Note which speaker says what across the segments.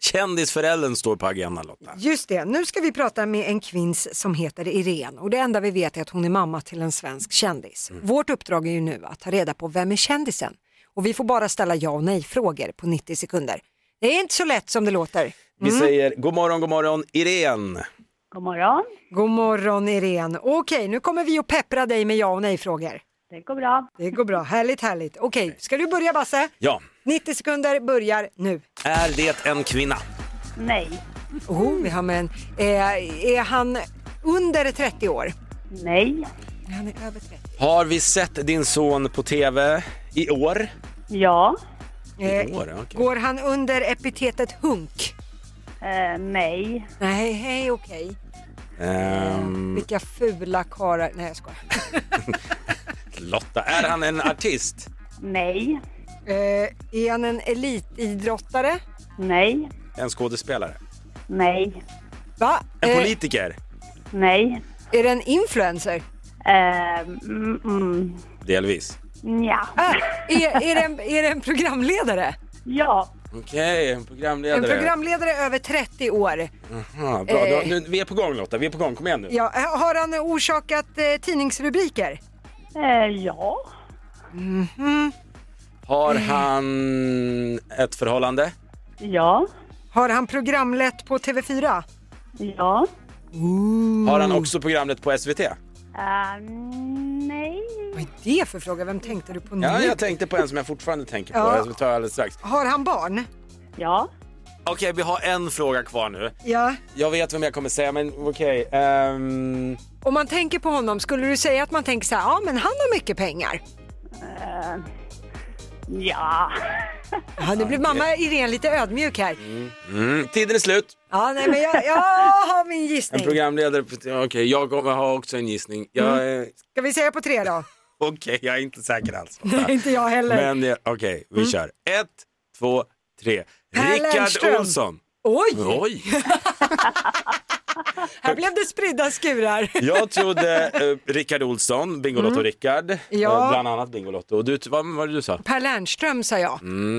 Speaker 1: Kändisföräldern står på agendan Lotta.
Speaker 2: Just det, nu ska vi prata med en kvinns som heter Irene och det enda vi vet är att hon är mamma till en svensk kändis. Vårt uppdrag är ju nu att ta reda på vem är kändisen och vi får bara ställa ja och nej frågor på 90 sekunder. Det är inte så lätt som det låter.
Speaker 1: Vi säger god morgon, god morgon Irene.
Speaker 3: God morgon.
Speaker 2: God morgon Irene. Okej, nu kommer vi att peppra dig med ja och nej frågor.
Speaker 3: Det går bra.
Speaker 2: Det går bra, härligt härligt. Okej, ska du börja Basse?
Speaker 1: Ja,
Speaker 2: 90 sekunder börjar nu.
Speaker 1: är det en kvinna?
Speaker 3: Nej.
Speaker 2: Oh, vi har med en. Eh, är han under 30 år?
Speaker 3: Nej.
Speaker 2: Han är över 30.
Speaker 1: Har vi sett din son på tv i år?
Speaker 3: Ja.
Speaker 2: Eh,
Speaker 1: I år, ja, okej.
Speaker 2: Går han under epitetet hunk?
Speaker 3: Eh, nej.
Speaker 2: Nej, hej, okej.
Speaker 1: Ehm,
Speaker 2: Vilka fula karlar. Nej, jag skojar.
Speaker 1: Lotta, är han en artist?
Speaker 3: Nej.
Speaker 2: Eh, är han en elitidrottare?
Speaker 3: Nej.
Speaker 1: En skådespelare?
Speaker 3: Nej.
Speaker 2: Va?
Speaker 1: En
Speaker 2: Eh,
Speaker 1: politiker?
Speaker 3: Nej.
Speaker 2: är det en influencer?
Speaker 3: Eh, mm, mm.
Speaker 1: Delvis.
Speaker 3: Nja.
Speaker 2: Ah, är, är, det en, är det en programledare?
Speaker 3: Ja.
Speaker 1: Okej, en
Speaker 2: En
Speaker 1: programledare.
Speaker 2: programledare över 30 år.
Speaker 1: Aha, bra. Då,
Speaker 2: Eh.
Speaker 1: nu, vi är på gång Lotta, vi är på gång. Kom igen nu.
Speaker 2: Ja, eh, har han orsakat eh, tidningsrubriker?
Speaker 3: Eh, ja.
Speaker 1: Har han ett förhållande?
Speaker 3: Ja.
Speaker 2: Har han programlett på TV4?
Speaker 3: Ja.
Speaker 1: Har han
Speaker 2: Mm.
Speaker 1: också programmet på SVT?
Speaker 3: Eh, nej.
Speaker 2: Vad är det för fråga? Vem tänkte du på nu?
Speaker 1: Ja, jag tänkte på en som jag fortfarande tänker på.
Speaker 2: Ja.
Speaker 1: Jag tar alldeles strax.
Speaker 2: Har han barn?
Speaker 3: Ja.
Speaker 1: Okej, vi har en fråga kvar nu.
Speaker 2: Ja.
Speaker 1: Jag vet vem jag kommer säga, men okej. ehm,
Speaker 2: Om man tänker på honom, skulle du säga att man tänker så här, ja men han har mycket pengar?
Speaker 3: Ja.
Speaker 2: Ja, nu blev mamma Irene lite ödmjuk här.
Speaker 1: mm, tiden är slut.
Speaker 2: Ja, nej men jag, jag har min
Speaker 1: En
Speaker 2: gissning.
Speaker 1: programledare... på- Okej, jag kommer ha också en gissning.
Speaker 2: Mm.
Speaker 1: Jag, är-
Speaker 2: Ska vi säga på tre då?
Speaker 1: Okej, jag är inte säker alls.
Speaker 2: Nej, inte jag heller.
Speaker 1: Men eh, okej, vi
Speaker 2: Mm.
Speaker 1: kör. Ett, två, tre.
Speaker 2: Per
Speaker 1: Rickard
Speaker 2: Äh, Lernström.
Speaker 1: Olsson.
Speaker 2: Oj,
Speaker 1: Oj!
Speaker 2: här blev det spridda skurar.
Speaker 1: Jag trodde eh, Rickard Olsson, Bingolotto Rickard,
Speaker 2: Mm. Ja.
Speaker 1: eh, bland annat Bingolotto. Och du, vad var det du sa?
Speaker 2: Per Lernström sa jag.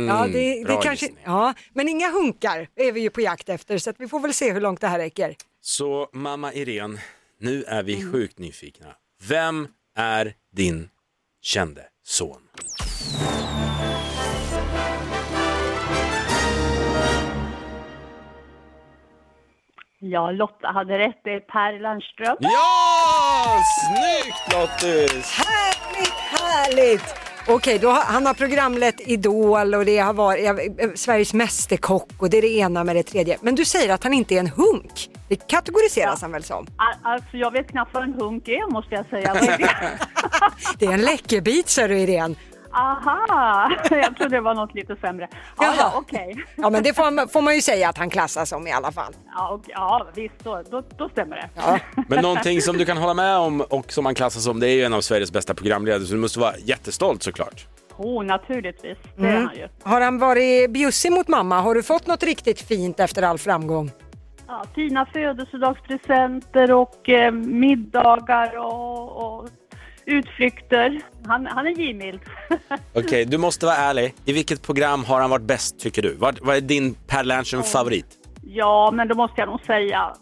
Speaker 2: ja, det, det
Speaker 1: bra
Speaker 2: kanske,
Speaker 1: gissning.
Speaker 2: ja, men inga hunkar är vi ju på jakt efter så att vi får väl se hur långt det här räcker.
Speaker 1: Så mamma Irene, nu är vi sjukt nyfikna. Vem är din kände son?
Speaker 3: Ja, Lotta hade rätt. Det är Per Lernström.
Speaker 1: Ja, snyggt Lottis!
Speaker 2: Härligt, härligt! Okej, då har, han har programlett Idol och det har varit ja, eh, Sveriges Mästerkock och det är det ena med det tredje. Men du säger att han inte är en hunk. Det kategoriseras han väl som?
Speaker 3: Al- Alltså, jag vet knappt vad en hunk är, måste jag säga. Vad är det?
Speaker 2: Det är en läckerbit sa du Irene.
Speaker 3: Aha! Jag trodde det var något lite sämre. Ja,
Speaker 2: Jaha.
Speaker 3: ja okej.
Speaker 2: Ja men det får, man- får man ju säga att han klassas som i alla fall.
Speaker 3: Ja, och, ja visst, då, då, då stämmer det.
Speaker 2: Ja.
Speaker 1: Men någonting som du kan hålla med om och som man klassas som, det är ju en av Sveriges bästa programledare så du måste vara jättestolt såklart.
Speaker 3: Oh, naturligtvis, det
Speaker 1: Mm.
Speaker 3: är han ju.
Speaker 2: Har han varit bjussig mot mamma? Har du fått något riktigt fint efter all framgång?
Speaker 3: Ja, fina födelsedagspresenter och eh, middagar och, och utflykter. Han, han är givmild.
Speaker 1: Okej, du måste vara ärlig. I vilket program har han varit bäst tycker du? Vad, vad är din Per Lernström-favorit?
Speaker 3: ja, men då måste jag nog säga...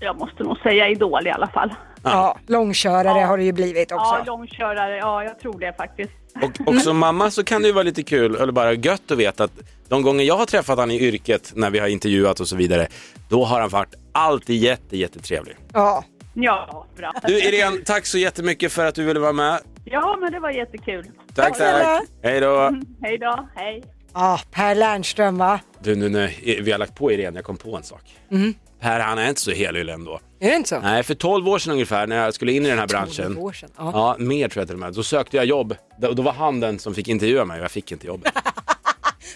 Speaker 3: Jag måste nog säga Idol i alla fall.
Speaker 2: Ja, långkörare har det ju blivit
Speaker 3: Ja,
Speaker 2: också.
Speaker 3: långkörare. Ja, jag tror det faktiskt.
Speaker 1: Och, och som mamma så kan det ju vara lite kul, eller bara gött att veta att de gånger jag har träffat han i yrket, när vi har intervjuat och så vidare, då har han varit alltid jätte, jättetrevlig.
Speaker 2: Ja,
Speaker 3: Ja, bra.
Speaker 1: Du Irene, tack så jättemycket för att du ville vara med.
Speaker 3: Ja, men det var jättekul.
Speaker 1: Tack, tack. Hej då.
Speaker 3: Hej då. Hej.
Speaker 2: ah, Per Lernström va?
Speaker 1: Du, nu när vi har lagt på Irene, jag kom på en sak.
Speaker 2: Mhm.
Speaker 1: Per, han är inte så helylle ändå.
Speaker 2: Är det inte så?
Speaker 1: Nej, för 12 år sedan ungefär när jag skulle in i den här branschen.
Speaker 2: 12 år sedan, ja.
Speaker 1: Ja, mer tror jag till och med. Då sökte jag jobb. Då, då var han den som fick intervjua mig och jag fick inte jobbet.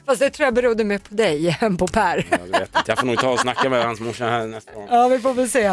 Speaker 2: Fast det tror jag berodde mer på dig än på Per.
Speaker 1: Jag, vet inte. jag får nog ta och snacka med hans morsa här nästa gång.
Speaker 2: Ja, vi får väl se.